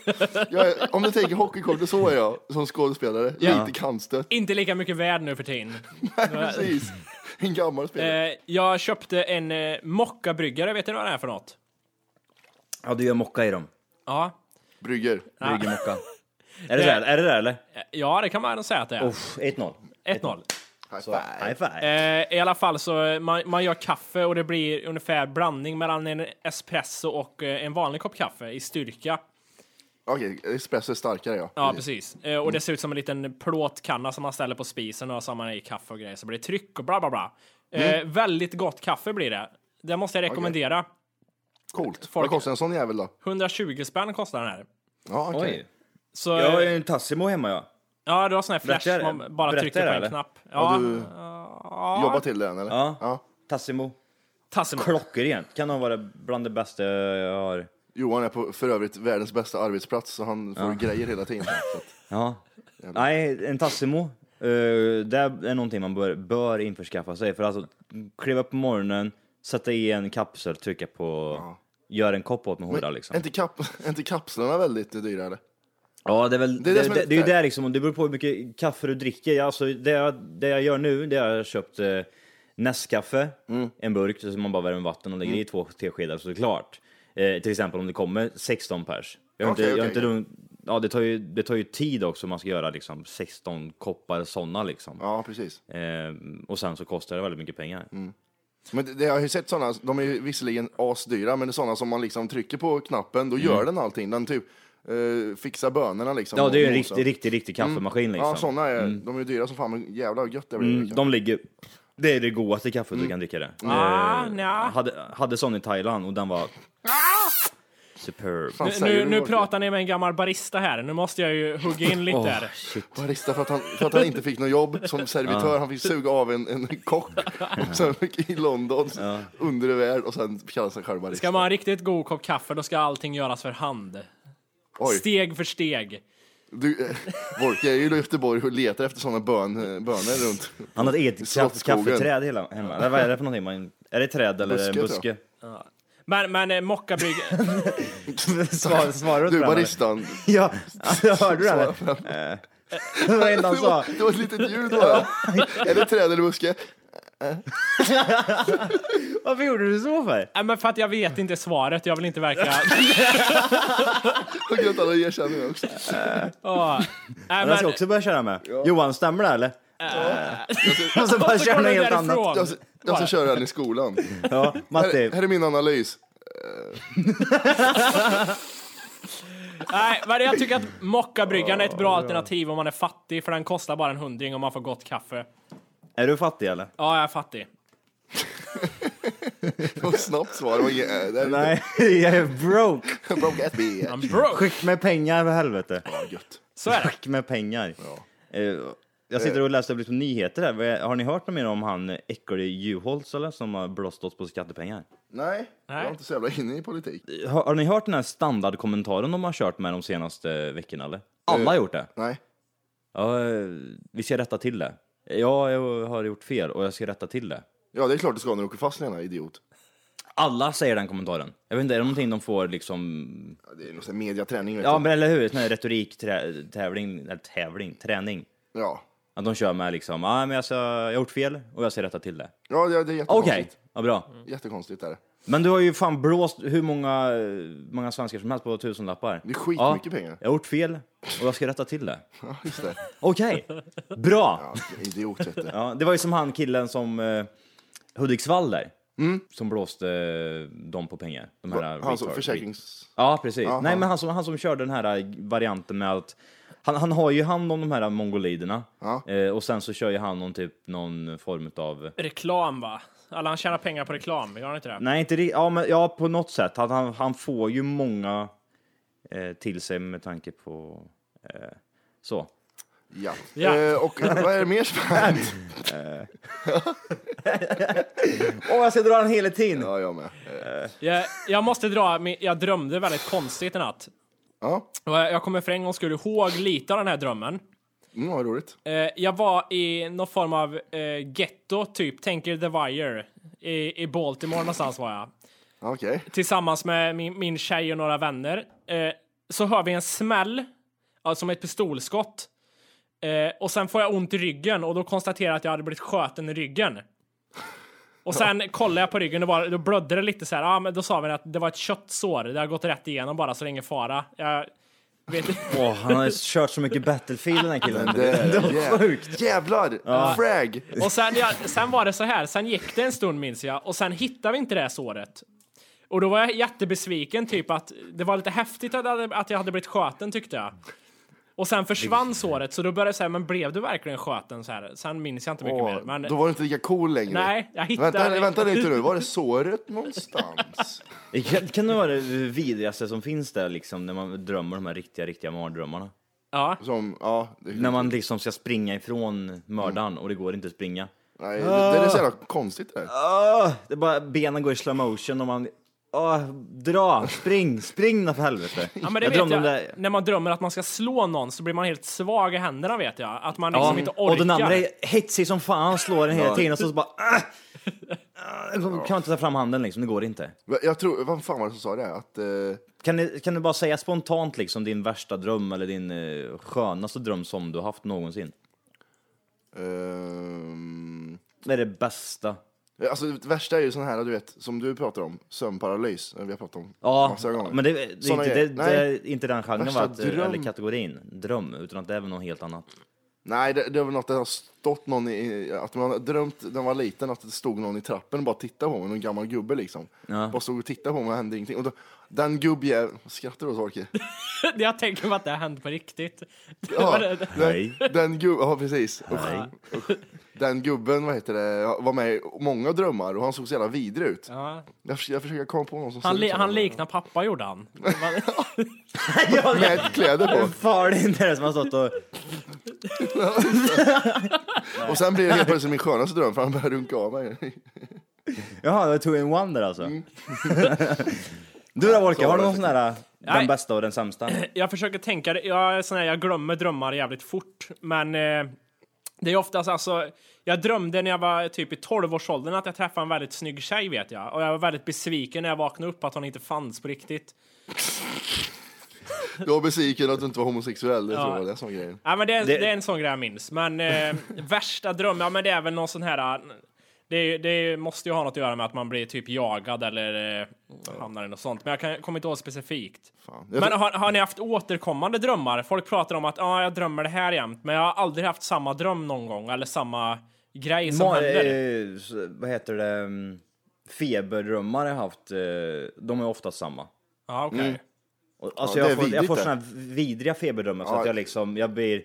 Speaker 4: Jag är, om du tänker hockeykortet, så är jag som skådespelare. Lite kantstött.
Speaker 8: inte lika mycket värd nu för tiden.
Speaker 4: Precis. En gammal spelare.
Speaker 8: Eh, jag köpte en eh, mockabryggare, vet ni vad det är för något?
Speaker 2: Ja, du gör mocka i dem.
Speaker 8: Ja,
Speaker 4: Brygger.
Speaker 8: Ah.
Speaker 2: Brygger mocka. är, det där, är det där eller?
Speaker 8: eh, ja det kan man nog säga att det är.
Speaker 2: Uff, 1-0.
Speaker 8: 1-0.
Speaker 4: High
Speaker 2: Så,
Speaker 4: five.
Speaker 2: high five.
Speaker 8: Eh, I alla fall så, eh, man, man gör kaffe och det blir ungefär blandning mellan en espresso och eh, en vanlig kopp kaffe i styrka.
Speaker 4: Okej, espresso är starkare ja.
Speaker 2: Mm.
Speaker 8: Ja, precis. Eh, och det ser ut som en liten plåtkanna som man ställer på spisen och så har man i kaffe och grejer så blir det tryck och bla bla bla. Eh,
Speaker 2: Mm.
Speaker 8: Väldigt gott kaffe blir det. Det måste jag rekommendera.
Speaker 4: Coolt.
Speaker 8: Folk-
Speaker 4: Vad kostar en sån jävel då?
Speaker 8: 120 spänn kostar den här.
Speaker 4: Ja, okej.
Speaker 2: Oj.
Speaker 8: Så,
Speaker 2: Jag har
Speaker 8: eh,
Speaker 2: ju en Tassimo hemma ja.
Speaker 8: ja, du har sån här flash
Speaker 2: Berättar-
Speaker 8: som man bara
Speaker 2: berättar
Speaker 8: trycker på
Speaker 2: det,
Speaker 8: en
Speaker 2: eller?
Speaker 8: knapp. Ja,
Speaker 4: du- Jobba till den eller?
Speaker 2: Ja.
Speaker 4: ja.
Speaker 2: Tassimo.
Speaker 8: Tassimo.
Speaker 2: Klockrent. Kan nog vara bland det bästa jag har.
Speaker 4: Johan är på för övrigt världens bästa arbetsplats så han får grejer hela tiden. Så att,
Speaker 2: Ja. Nej, en Tassimo. eh, det är någonting man bör, bör införskaffa sig. För alltså, kliva upp på morgonen, sätta i en kapsel, trycka på... Gör en kopp åt med hårda
Speaker 4: men,
Speaker 2: liksom.
Speaker 4: är, inte kap, är inte kapslarna väldigt dyra eller?
Speaker 2: Ja, det är väl
Speaker 4: Det är
Speaker 2: det, det,
Speaker 4: det som är
Speaker 2: det, är ju
Speaker 4: lite-
Speaker 2: där liksom, och det beror på hur mycket kaffe du dricker. Ja, Alltså, det, jag, det jag gör nu, det är att jag har köpt eh, Nescafé,
Speaker 4: Mm.
Speaker 2: en burk, så man bara värmer vatten och lägger i två teskedar så är det klart. Eh, till exempel om det kommer 16 pers. Jag har
Speaker 4: Okej,
Speaker 2: inte, jag har
Speaker 4: okej,
Speaker 2: inte lugn- ja, det, tar ju, det tar ju tid också om man ska göra liksom 16 koppar sådana liksom.
Speaker 4: Ja, precis.
Speaker 2: Eh, och sen så kostar det väldigt mycket pengar.
Speaker 4: Mm. Men det, det, jag har ju sett sådana, de är ju visserligen asdyra, men det är sådana som man liksom trycker på knappen, då gör den allting. Den typ eh, fixar bönorna liksom.
Speaker 2: Mm. Ja, det är ju
Speaker 4: och
Speaker 2: en
Speaker 4: mosar.
Speaker 2: riktig, riktig, riktig kaffemaskin liksom.
Speaker 4: Mm. Ja, sådana är, de är ju dyra som fan, men jävlar vad gött det liksom. blir.
Speaker 2: Mm, de ligger... Det är det godaste kaffet
Speaker 4: Mm.
Speaker 2: du kan dricka det.
Speaker 8: Ah,
Speaker 2: Eh,
Speaker 8: nja.
Speaker 2: hade, hade sån i Thailand och den var... Superb.
Speaker 4: Fan, säger
Speaker 8: Nu,
Speaker 4: du
Speaker 8: nu
Speaker 4: vad-
Speaker 8: pratar ni med en gammal barista här. Nu måste jag ju hugga in lite där.
Speaker 4: Barista för att, han, för att han inte fick något jobb som servitör, han fick suga av en, en kock och sen i London, undre värld och sen kalla sig själv barista.
Speaker 8: Ska man ha en riktigt god kopp kaffe, då ska allting göras för hand.
Speaker 4: Oj.
Speaker 8: Steg för steg.
Speaker 4: Du, eh, Wolke är ju i Göteborg och letar efter sådana bön, eh, bönor runt.
Speaker 2: Han hade eget kaff-
Speaker 4: Slottsskogen.
Speaker 2: kaffeträd hela hemma. Eller vad är det för någonting? Man, är det träd eller
Speaker 4: Buske,
Speaker 2: buske?
Speaker 4: tror jag.
Speaker 2: buske?
Speaker 8: Men, men eh, mockabrygg...
Speaker 2: Svar, svarar du
Speaker 4: Du
Speaker 2: inte på den, eller?
Speaker 4: baristan.
Speaker 2: Ja, alltså, hörde du det? eller? Eh. Det var det enda han
Speaker 4: Det var,
Speaker 2: sa.
Speaker 4: det var ett litet ljud bara. Är det träd eller buske?
Speaker 2: Varför gjorde du så för?
Speaker 8: Nej, men för att jag vet inte svaret. Jag vill inte verka...
Speaker 4: Och gött att han erkänner det också.
Speaker 8: Åh. Nej,
Speaker 2: Jag
Speaker 8: men,
Speaker 2: ska också börja köra med. Johan, stämmer det eller? Och så bara
Speaker 8: och så
Speaker 2: köra
Speaker 8: går
Speaker 2: något
Speaker 8: du
Speaker 2: helt
Speaker 8: därifrån.
Speaker 2: annat.
Speaker 4: Jag, ska- jag ska köra den i skolan.
Speaker 2: Ja, Matti,
Speaker 4: Här, här är min analys.
Speaker 8: Nej, men jag tycker att mockabryggan är ett bra alternativ om man är fattig, för den kostar bara en hundring om man får gott kaffe.
Speaker 2: är du fattig eller?
Speaker 8: Ja, jag är fattig.
Speaker 4: Det var ett snabbt svar. Det var inget, äh, det är inte-
Speaker 2: Nej, jag är broke.
Speaker 4: Broke at me.
Speaker 8: I'm broke!
Speaker 2: Skicka med pengar för helvete.
Speaker 4: Ja, gött.
Speaker 8: Så är det.
Speaker 2: Skick med pengar. Eh, Jag sitter och läser lite på nyheter här. Vad- Har ni hört något mer om han äcklig Juholt eller som har blåst oss på skattepengar?
Speaker 4: Nej, jag är
Speaker 8: Nej.
Speaker 4: inte så jävla inne i politik.
Speaker 2: Har, har ni hört den här standardkommentaren de har kört med de senaste veckorna eller? Alla har gjort det.
Speaker 4: Nej.
Speaker 2: Ja, eh, vi ska rätta till det. Ja, jag har gjort fel och jag ska rätta till det.
Speaker 4: Ja, det är klart du ska när du åker fast, denna idiot.
Speaker 2: Alla säger den kommentaren. Jag vet inte, är det någonting de får liksom...
Speaker 4: Ja, det är någon sån här mediaträning, vet
Speaker 2: Ja,
Speaker 4: du.
Speaker 2: men eller hur? Sån här retoriktävling, eller tävling, träning.
Speaker 4: Ja.
Speaker 2: Att de kör med liksom, ah, men jag, ska, jag har gjort fel och jag ska rätta till det.
Speaker 4: Ja, det det är jättekonstigt.
Speaker 2: Okej, ja, bra.
Speaker 4: Jättekonstigt är det.
Speaker 2: Men du har ju fan blåst hur många, eh, många svenskar som helst på tusenlappar.
Speaker 4: Det är skitmycket pengar.
Speaker 2: Jag har gjort fel och jag ska rätta till det.
Speaker 4: Ja, just det.
Speaker 2: Okej, bra!
Speaker 4: Ja, idiot, vet du.
Speaker 2: Ja, det var ju som han killen som eh, Hudiksvall där, som blåste eh, dem på pengar. De här
Speaker 4: Mm. Han som
Speaker 2: retard-
Speaker 4: försäkrings...
Speaker 2: Ja, precis.
Speaker 4: Aha.
Speaker 2: Nej, men han som, han som körde den här eh, varianten med att han, han har ju hand om de här mongoliderna
Speaker 4: Ja.
Speaker 2: eh, och sen så kör ju han någon typ någon form av
Speaker 8: Reklam, va? Alla han tjänar pengar på reklam, gör han inte det?
Speaker 2: Nej, inte riktigt. Ja, men ja, på något sätt. Han, han, han får ju många eh, till sig med tanke på eh, så.
Speaker 4: Ja.
Speaker 8: Ja.
Speaker 4: Eh, och vad är det mer som har hänt?
Speaker 2: Åh, jag ska dra den hela tiden!
Speaker 4: Ja, jag med. Eh,
Speaker 8: Jag, jag måste dra, min- jag drömde väldigt konstigt i natt.
Speaker 4: Ja,
Speaker 8: Och Jag jag kommer för en gång skulle ihåg lite av den här drömmen.
Speaker 4: mm, vad roligt.
Speaker 8: Eh, jag var i någon form av eh, getto, typ, tänker The Wire. I, I Baltimore någonstans var jag.
Speaker 4: Okej.
Speaker 8: Tillsammans med min, min tjej och några vänner. Eh, så hör vi en smäll, ja, som ett pistolskott. Eh, och sen får jag ont i ryggen och då konstaterar jag att jag hade blivit sköten i ryggen. Och sen kollade jag på ryggen och bara, då blödde det lite så här. Ja, men då sa vi att det var ett köttsår. Det har gått rätt igenom bara, så det är ingen fara. Jag vet inte.
Speaker 2: Åh, han har kört så mycket Battlefield den här killen.
Speaker 4: Det är
Speaker 2: var sjukt.
Speaker 4: Jävlar! Frag!
Speaker 8: Och sen, ja, sen var det så här, sen gick det en stund minns jag och sen hittade vi inte det här såret. Och då var jag jättebesviken, typ att det var lite häftigt att, jag hade- att jag hade blivit sköten tyckte jag. Och sen försvann såret, så då började jag säga, men blev du verkligen sköten? Så här. Sen minns jag inte mycket
Speaker 4: Åh,
Speaker 8: mer. Men,
Speaker 4: Då var du inte lika cool längre.
Speaker 8: Nej, jag hittade
Speaker 4: Vänta,
Speaker 8: det.
Speaker 4: vänta lite nu, var är såret någonstans?
Speaker 2: Det kan, kan det vara det vidrigaste som finns där liksom, när man drömmer de här riktiga, riktiga mardrömmarna.
Speaker 8: ja.
Speaker 4: Som, ja, det,
Speaker 2: När man liksom ska springa ifrån mördaren och det går inte att springa.
Speaker 4: nej, det, det är så jävla konstigt det där.
Speaker 2: Åh, det är bara benen går i slow motion och man... Åh, dra! Spring! Spring då för helvete!
Speaker 8: ja, men det vet jag. När man drömmer att man ska slå någon så blir man helt svag i händerna vet jag. Att man liksom inte orkar.
Speaker 2: och den andra är hetsig som fan, han slår den hela tiden och så bara... Ah, Ah, jag kan inte ta fram handen liksom, det går inte.
Speaker 4: Jag tror, vad fan var det som sa det? här? Att, eh,
Speaker 2: Kan du, kan du bara säga spontant liksom din värsta dröm eller din eh, skönaste dröm som du har haft någonsin?
Speaker 4: ehm,
Speaker 2: Det är det bästa.
Speaker 4: Alltså det värsta är ju sån här, du vet, som du pratar om, sömnparalys. eh, Vi har pratat om
Speaker 2: Ja,
Speaker 4: massa gånger.
Speaker 2: men det, det, är
Speaker 4: Såna
Speaker 2: inte, det,
Speaker 4: grejer.
Speaker 2: det
Speaker 4: Nej.
Speaker 2: är inte den genren
Speaker 4: Värsta
Speaker 2: va? Att,
Speaker 4: dröm.
Speaker 2: eller kategorin, dröm, utan att det är väl något helt annat.
Speaker 4: Nej, det, det var något det har stått någon i, att man har drömt när man var liten att det stod någon i trappen och bara tittade på mig, någon gammal gubbe liksom. Bara stod och tittade på mig och hände ingenting. Och då, den gubbjäveln, skrattar du åt Orke?
Speaker 8: jag tänker mig att det har hänt på riktigt.
Speaker 4: Ja,
Speaker 2: Nej.
Speaker 4: den, den gubben, ja precis. Usch, usch. Den gubben, vad heter det, var med i många drömmar och han såg så jävla vidrig ut.
Speaker 8: Ja.
Speaker 4: Jag, förs- jag försöker komma på någon som
Speaker 8: Han,
Speaker 4: ser ut
Speaker 8: li-
Speaker 4: som
Speaker 8: han
Speaker 4: honom.
Speaker 8: liknar pappa gjorde han.
Speaker 2: ja,
Speaker 4: Med kläder på.
Speaker 2: far det är inte det som har stått och...
Speaker 4: Och sen blir det helt plötsligt min skönaste dröm för han börjar runka av mig.
Speaker 2: Jaha, det var two in one där alltså.
Speaker 4: Mm.
Speaker 2: du då Wolke, har du någon sån där, den
Speaker 8: Nej.
Speaker 2: bästa och den sämsta?
Speaker 8: jag försöker tänka, det- jag, är sån här, jag glömmer drömmar jävligt fort, men eh, det är oftast alltså, jag drömde när jag var typ i 12-årsåldern att jag träffade en väldigt snygg tjej vet jag, och jag var väldigt besviken när jag vaknade upp att hon inte fanns på riktigt.
Speaker 4: Du var besviken att du inte var homosexuell, det tror jag det är som grejen.
Speaker 8: Ja, men det, är-
Speaker 2: Det-
Speaker 8: det är en sån grej jag minns, men eh, värsta dröm, ja men det är väl någon sån här, eh, det, är ju- det är ju- måste ju ha något att göra med att man blir typ jagad eller eh, hamnar i något sånt, men jag kan, kommer inte ihåg specifikt.
Speaker 4: Fan. Jag
Speaker 8: Men har, har ni haft återkommande drömmar? Folk pratar om att ah, jag drömmer det här jämt, men jag har aldrig haft samma dröm någon gång eller samma grej som
Speaker 2: Ma-
Speaker 8: händer.
Speaker 2: eh, s- vad heter det? mm, Feberdrömmar jag haft, eh, de är ofta samma.
Speaker 8: Ja, okej.
Speaker 2: mm. Och- Alltså
Speaker 4: Ja, det
Speaker 2: jag,
Speaker 4: är
Speaker 2: får, jag
Speaker 4: vidrigt
Speaker 2: får
Speaker 4: det.
Speaker 2: såna här vidriga feberdrömmar så
Speaker 4: Ja.
Speaker 2: att jag liksom, jag blir...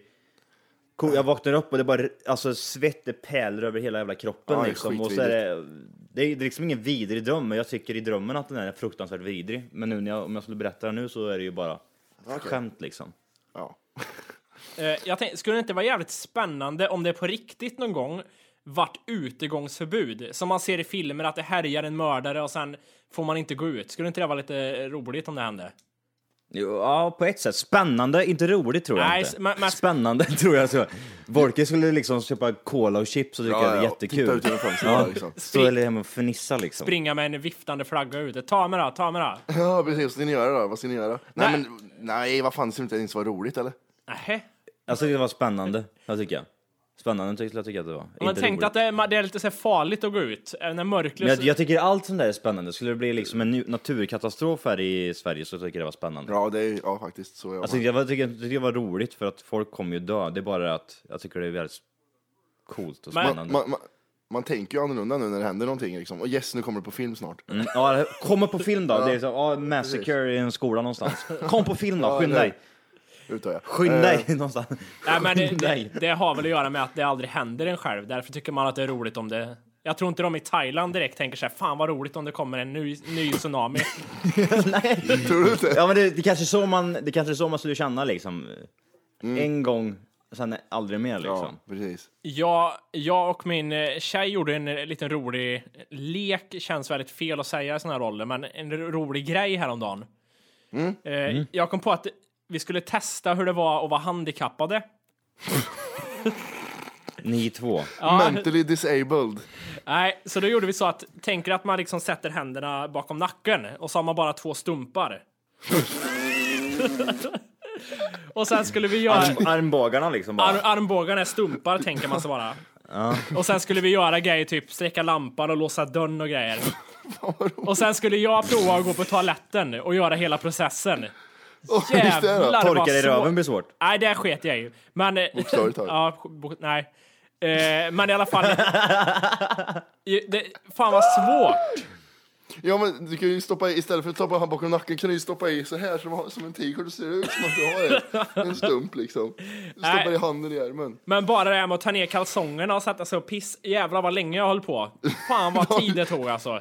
Speaker 2: ko- Jag vaknar upp och det bara, alltså svett det pärlor över hela jävla kroppen
Speaker 4: Ja, det är
Speaker 2: liksom. Och så är det, det är liksom ingen vidrig dröm, men jag tycker i drömmen att den är fruktansvärt vidrig. Men nu när jag, om jag skulle berätta det nu så är det ju bara skämt liksom.
Speaker 4: Ja.
Speaker 8: Eh, jag tänkte, skulle det inte vara jävligt spännande om det på riktigt någon gång vart utegångsförbud? Som man ser i filmer att det härjar en mördare och sen får man inte gå ut. Skulle inte det vara lite roligt om det hände?
Speaker 2: Jo, Ja, på ett sätt. Spännande, inte roligt tror jag
Speaker 8: Nej,
Speaker 2: inte.
Speaker 8: s- men- men-
Speaker 2: Spännande tror jag. Så. Volke skulle liksom köpa cola och chips och dricka det jättekul.
Speaker 4: Titta ut genom fönstret ja. liksom.
Speaker 2: Stå eller hemma och fnissa liksom.
Speaker 8: Springa med en viftande flagga ute. Ta mig då, ta mig då.
Speaker 4: Ja precis, vad ska ni göra då? Vad ska ni göra? Nej, men nej vad fan, det skulle inte ens vara roligt eller?
Speaker 8: Nähä.
Speaker 2: Alltså det var spännande, jag tycker jag. Spännande tyckte jag tycker att det var.
Speaker 8: Man
Speaker 2: Inte
Speaker 8: tänkte
Speaker 2: roligt.
Speaker 8: att det är, det är lite så här farligt att gå ut. eh, När mörkret...
Speaker 2: Men jag, jag tycker allt sånt där är spännande. Skulle det bli liksom en nu- naturkatastrof här i Sverige så tycker jag det var spännande.
Speaker 4: Ja, det är, ja faktiskt så är jag
Speaker 2: Alltså
Speaker 4: med.
Speaker 2: jag var- tycker, tycker det var roligt för att folk kommer ju dö. Det är bara det att jag tycker det är väldigt coolt och
Speaker 8: Men-
Speaker 2: spännande.
Speaker 4: man, man, man tänker ju annorlunda nu när det händer någonting liksom. Och yes, nu kommer det på film snart.
Speaker 2: Mm, ja, det kommer på film då. Det är så, ja, massacre i en skola någonstans. Kom på film då, skynda
Speaker 4: eller-
Speaker 2: dig.
Speaker 4: Uttar jag.
Speaker 2: Skynda
Speaker 4: Eh,
Speaker 2: dig någonstans.
Speaker 8: Nej, men det,
Speaker 2: Nej.
Speaker 8: det, det har väl att göra med att det aldrig händer en själv. Därför tycker man att det är roligt om det Jag tror inte de i Thailand direkt tänker så här, fan vad roligt om det kommer en ny, ny tsunami.
Speaker 2: Nej.
Speaker 4: Tror du inte?
Speaker 2: Ja men det, det kanske är så man, det kanske är så man skulle känna liksom. En gång, sen aldrig mer liksom.
Speaker 4: Mm. Ja, precis.
Speaker 8: jag, jag och min eh, tjej gjorde en eh, liten rolig lek, känns väldigt fel att säga i såna här roller, men en ro- rolig grej häromdagen. Eh, Jag kom på att vi skulle testa hur det var att vara handikappade.
Speaker 2: Ni två.
Speaker 4: Mentally disabled.
Speaker 8: Nej, så då gjorde vi så att, tänker att man liksom sätter händerna bakom nacken och så har man bara två stumpar. och sen skulle vi göra...
Speaker 2: Arm, armbågarna liksom bara.
Speaker 8: Ar armbågarna är stumpar tänker man sig bara. Och sen skulle vi göra grejer typ sträcka lampan och låsa dörren och grejer. och sen skulle jag prova att gå på toaletten och göra hela processen.
Speaker 4: Oh, just det då.
Speaker 8: Jävlar.
Speaker 2: Torka
Speaker 8: vad
Speaker 2: i
Speaker 8: svår-
Speaker 2: röven blir svårt.
Speaker 8: Nej, det sket jag ju. Men... eh,
Speaker 4: Bokstavligt talat.
Speaker 8: ja, bo- nej. Eh, men i alla fall... Ju- det, fan vad svårt!
Speaker 4: Ja men du kan ju stoppa i, istället för att stoppa hand bakom nacken kan du ju stoppa i så här som, som en tiger. Det ser ut som att du har en, en stump liksom. Du stoppar i handen i ärmen.
Speaker 8: Men bara det här med att ta ner kalsongerna och sätta sig och piss. Jävlar vad länge jag höll på. Fan vad tid det tog alltså.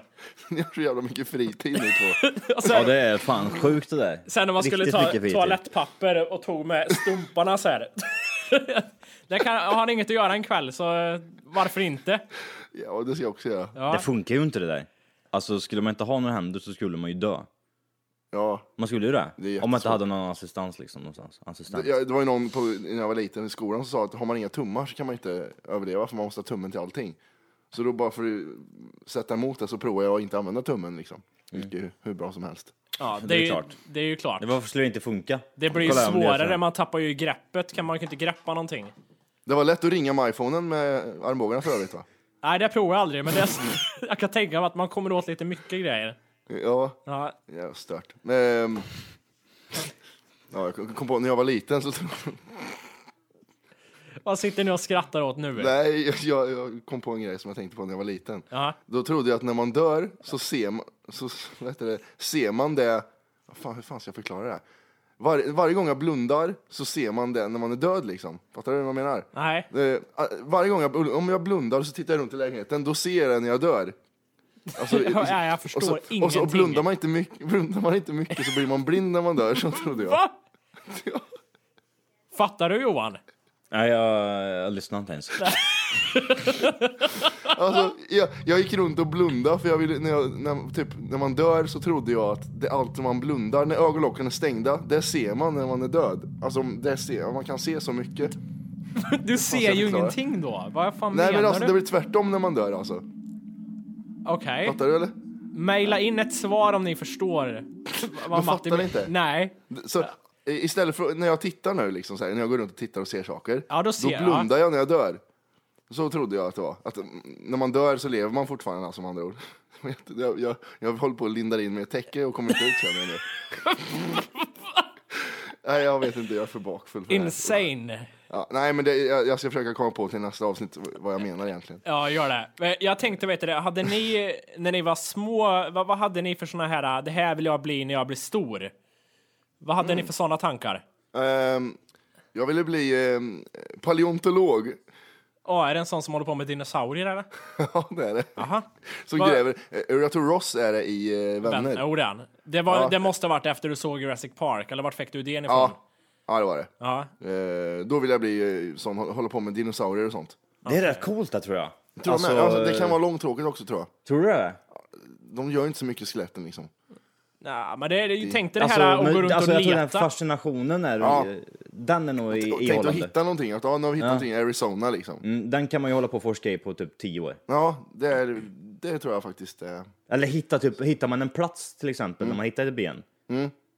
Speaker 4: Ni har så jävla mycket fritid ni två.
Speaker 8: Och sen,
Speaker 2: Ja det är fan sjukt det där.
Speaker 8: Sen när man skulle
Speaker 2: Riktigt
Speaker 8: ta
Speaker 2: mycket fritid.
Speaker 8: toalettpapper och tog med stumparna så här. det kan, har ni inget att göra en kväll så eh, varför inte?
Speaker 4: Ja det ska jag också göra.
Speaker 2: Det funkar ju inte det där. Alltså skulle man inte ha några händer så skulle man ju dö.
Speaker 4: Ja.
Speaker 2: Man skulle ju
Speaker 4: Det
Speaker 2: det.
Speaker 4: är
Speaker 2: Om man inte
Speaker 4: jättesvårt.
Speaker 2: hade någon assistans liksom någonstans. Assistent.
Speaker 4: Ja, det var ju någon på, när jag var liten i skolan som sa att har man inga tummar så kan man inte överleva för man måste ha tummen till allting. Så då bara för att sätta emot det så provar jag att inte använda tummen liksom. Vilket är hur bra som helst.
Speaker 8: Ja, det,
Speaker 2: Det
Speaker 8: är
Speaker 2: är
Speaker 8: ju,
Speaker 2: klart.
Speaker 8: Det är ju klart.
Speaker 2: Det, varför skulle det inte funka?
Speaker 8: Det blir ju
Speaker 2: Kolla om det är så här.
Speaker 8: svårare, man tappar ju greppet. Kan man kan inte greppa någonting.
Speaker 4: Det var lätt att ringa med iPhonen med armbågarna för övrigt va?
Speaker 8: Nej, det provar jag aldrig, men det, jag kan tänka mig att man kommer åt lite mycket grejer.
Speaker 4: Ja,
Speaker 8: Ja,
Speaker 4: ja stört. Ehm, ja, jag kom på när jag var liten så
Speaker 8: vad sitter ni och skrattar åt nu?
Speaker 4: Nej, jag, jag kom på en grej som jag tänkte på när jag var liten.
Speaker 8: Ja.
Speaker 4: Då trodde jag att när man dör så ser man, så, vad heter det, ser man det... vad Fan, hur fan ska jag förklara det här? Var, varje gång jag blundar så ser man det när man är död liksom. Fattar du vad jag menar?
Speaker 8: Nej.
Speaker 4: Eh, varje gång jag, bl- om jag blundar så tittar jag runt i lägenheten, då ser jag det när jag dör. Alltså,
Speaker 8: Ja, jag förstår
Speaker 4: och så, Och så
Speaker 8: ingenting.
Speaker 4: och blundar, man inte mycket, blundar man inte mycket så blir man blind när man dör, så trodde jag.
Speaker 8: Va? Fattar du Johan?
Speaker 2: Nej jag, jag lyssnar inte ens.
Speaker 4: Alltså, jag, jag gick runt och blundade för jag ville, när, jag, när, typ, när man dör så trodde jag att det, allt man blundar, när ögonlocken är stängda, det ser man när man är död. Alltså det ser, man kan se så mycket.
Speaker 8: Du ser
Speaker 4: jag
Speaker 8: ju
Speaker 4: förklara?
Speaker 8: ingenting då. Vad fan
Speaker 4: Nej
Speaker 8: menar
Speaker 4: men alltså
Speaker 8: du?
Speaker 4: det blir tvärtom när man dör alltså.
Speaker 8: Okej.
Speaker 4: Fattar du eller?
Speaker 8: Maila in ett svar om ni förstår. Vad
Speaker 4: fattar inte?
Speaker 8: Nej.
Speaker 4: Så, eh, Istället för när jag tittar nu liksom så här, när jag går runt och tittar och ser saker,
Speaker 8: Ja, då ser jag.
Speaker 4: blundar jag när jag dör. Så trodde jag att det var. Att mm, när man dör så lever man fortfarande alltså, med andra ord. Jag, jag, jag håller på att linda in med ett täcke och kommer inte ut känner jag nu. Nej jag vet inte, jag är för bakfull för det här.
Speaker 8: Insane.
Speaker 4: ja, Nej men det, jag, jag ska försöka komma på till nästa avsnitt vad jag menar egentligen.
Speaker 8: Ja, gör det. Men Jag tänkte, vet du det, hade ni när ni var små, vad, vad hade ni för såna här, äh, det här vill jag bli när jag blir stor? Vad hade
Speaker 4: Mm.
Speaker 8: ni för såna tankar?
Speaker 4: Ehm, jag ville bli ehm, paleontolog.
Speaker 8: Ja, är det en sån som håller på med dinosaurier eller?
Speaker 4: ja det är det.
Speaker 8: Aha.
Speaker 4: Som
Speaker 8: Vad-
Speaker 4: gräver, eh, jag tror Ross är det i eh,
Speaker 8: Ben,
Speaker 4: Vänner.
Speaker 8: jo, det, är han. det, var,
Speaker 4: Ja.
Speaker 8: det måste ha varit efter du såg Jurassic Park, eller vart fick du idén ifrån?
Speaker 4: Ja, ja det var det.
Speaker 8: Ja.
Speaker 4: Eh, då vill jag bli eh, sån, hå- hålla på med dinosaurier och sånt.
Speaker 2: Det är rätt coolt det tror jag.
Speaker 4: Tror jag med. alltså,
Speaker 2: Eh.
Speaker 4: det kan vara långtråkigt också tror jag.
Speaker 2: Tror du det?
Speaker 4: De gör ju inte så mycket i skeletten liksom.
Speaker 8: Nej, men det, det, tänk dig det här att
Speaker 2: men-
Speaker 8: gå runt
Speaker 2: alltså,
Speaker 8: och
Speaker 2: jag tror den
Speaker 8: leta.
Speaker 2: fascinationen är,
Speaker 4: Ja.
Speaker 2: den är nog
Speaker 4: Och
Speaker 2: i-
Speaker 4: Tänk att
Speaker 2: ihållande.
Speaker 4: hitta någonting, att ja, nu har vi hittat någonting i Arizona liksom.
Speaker 2: Mm, Den kan man ju hålla på och forska i på typ tio år.
Speaker 4: Ja, det, är, det tror jag faktiskt. Eh.
Speaker 2: Eller hitta typ, hittar man en plats till exempel,
Speaker 4: Mm.
Speaker 2: när man hittar ett ben,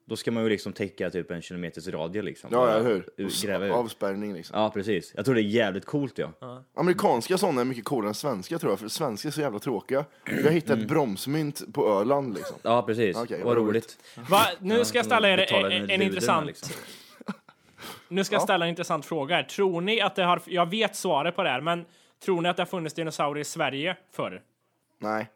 Speaker 2: då ska man ju liksom täcka typ en kilometers radie liksom.
Speaker 4: Ja, ja, hur?
Speaker 2: Ur- Gräva ut.
Speaker 4: Avspärrning liksom.
Speaker 2: Ja, precis. Jag tror det är jävligt coolt ja.
Speaker 4: Amerikanska sådana är mycket coolare än svenska tror jag, för svenska är så jävla tråkiga. Jag hittade ett bromsmynt på Öland liksom.
Speaker 2: Ja, precis.
Speaker 4: Okej, vad
Speaker 2: vad roligt.
Speaker 4: roligt.
Speaker 8: Va? Nu ska jag ställa er
Speaker 2: Betala
Speaker 8: en,
Speaker 2: Mm, den
Speaker 8: en,
Speaker 2: luden,
Speaker 8: intressant...
Speaker 2: liksom.
Speaker 8: Nu ska jag ställa en intressant fråga här. Tror ni att det har... Jag vet svaret på det här, men tror ni att det har funnits dinosaurier i Sverige förr?
Speaker 4: Nej.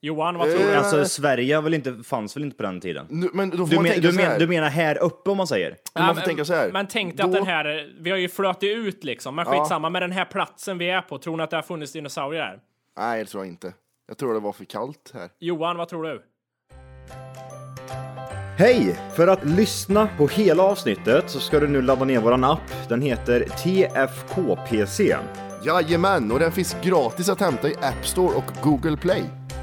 Speaker 8: Johan, vad
Speaker 4: Eh,
Speaker 8: tror du?
Speaker 2: Alltså Sverige har väl inte, fanns väl inte på den tiden?
Speaker 4: Nu, men då får
Speaker 2: Du,
Speaker 4: man
Speaker 2: men,
Speaker 4: tänka
Speaker 2: du,
Speaker 4: så här.
Speaker 2: men, du menar här uppe om man säger?
Speaker 4: man får tänka så här.
Speaker 8: Men tänk dig att
Speaker 4: Då-
Speaker 8: den här... Vi har ju flötit ut liksom, men skitsamma med den här platsen vi är på. Tror ni att det har funnits dinosaurier där?
Speaker 4: Nej, det tror jag inte. Jag tror det var för kallt här.
Speaker 8: Johan, vad tror du?
Speaker 2: Hej! För att lyssna på hela avsnittet så ska du nu ladda ner våran app. Den heter TFKPC.
Speaker 4: Jajamän, och den finns gratis att hämta i App Store och Google Play.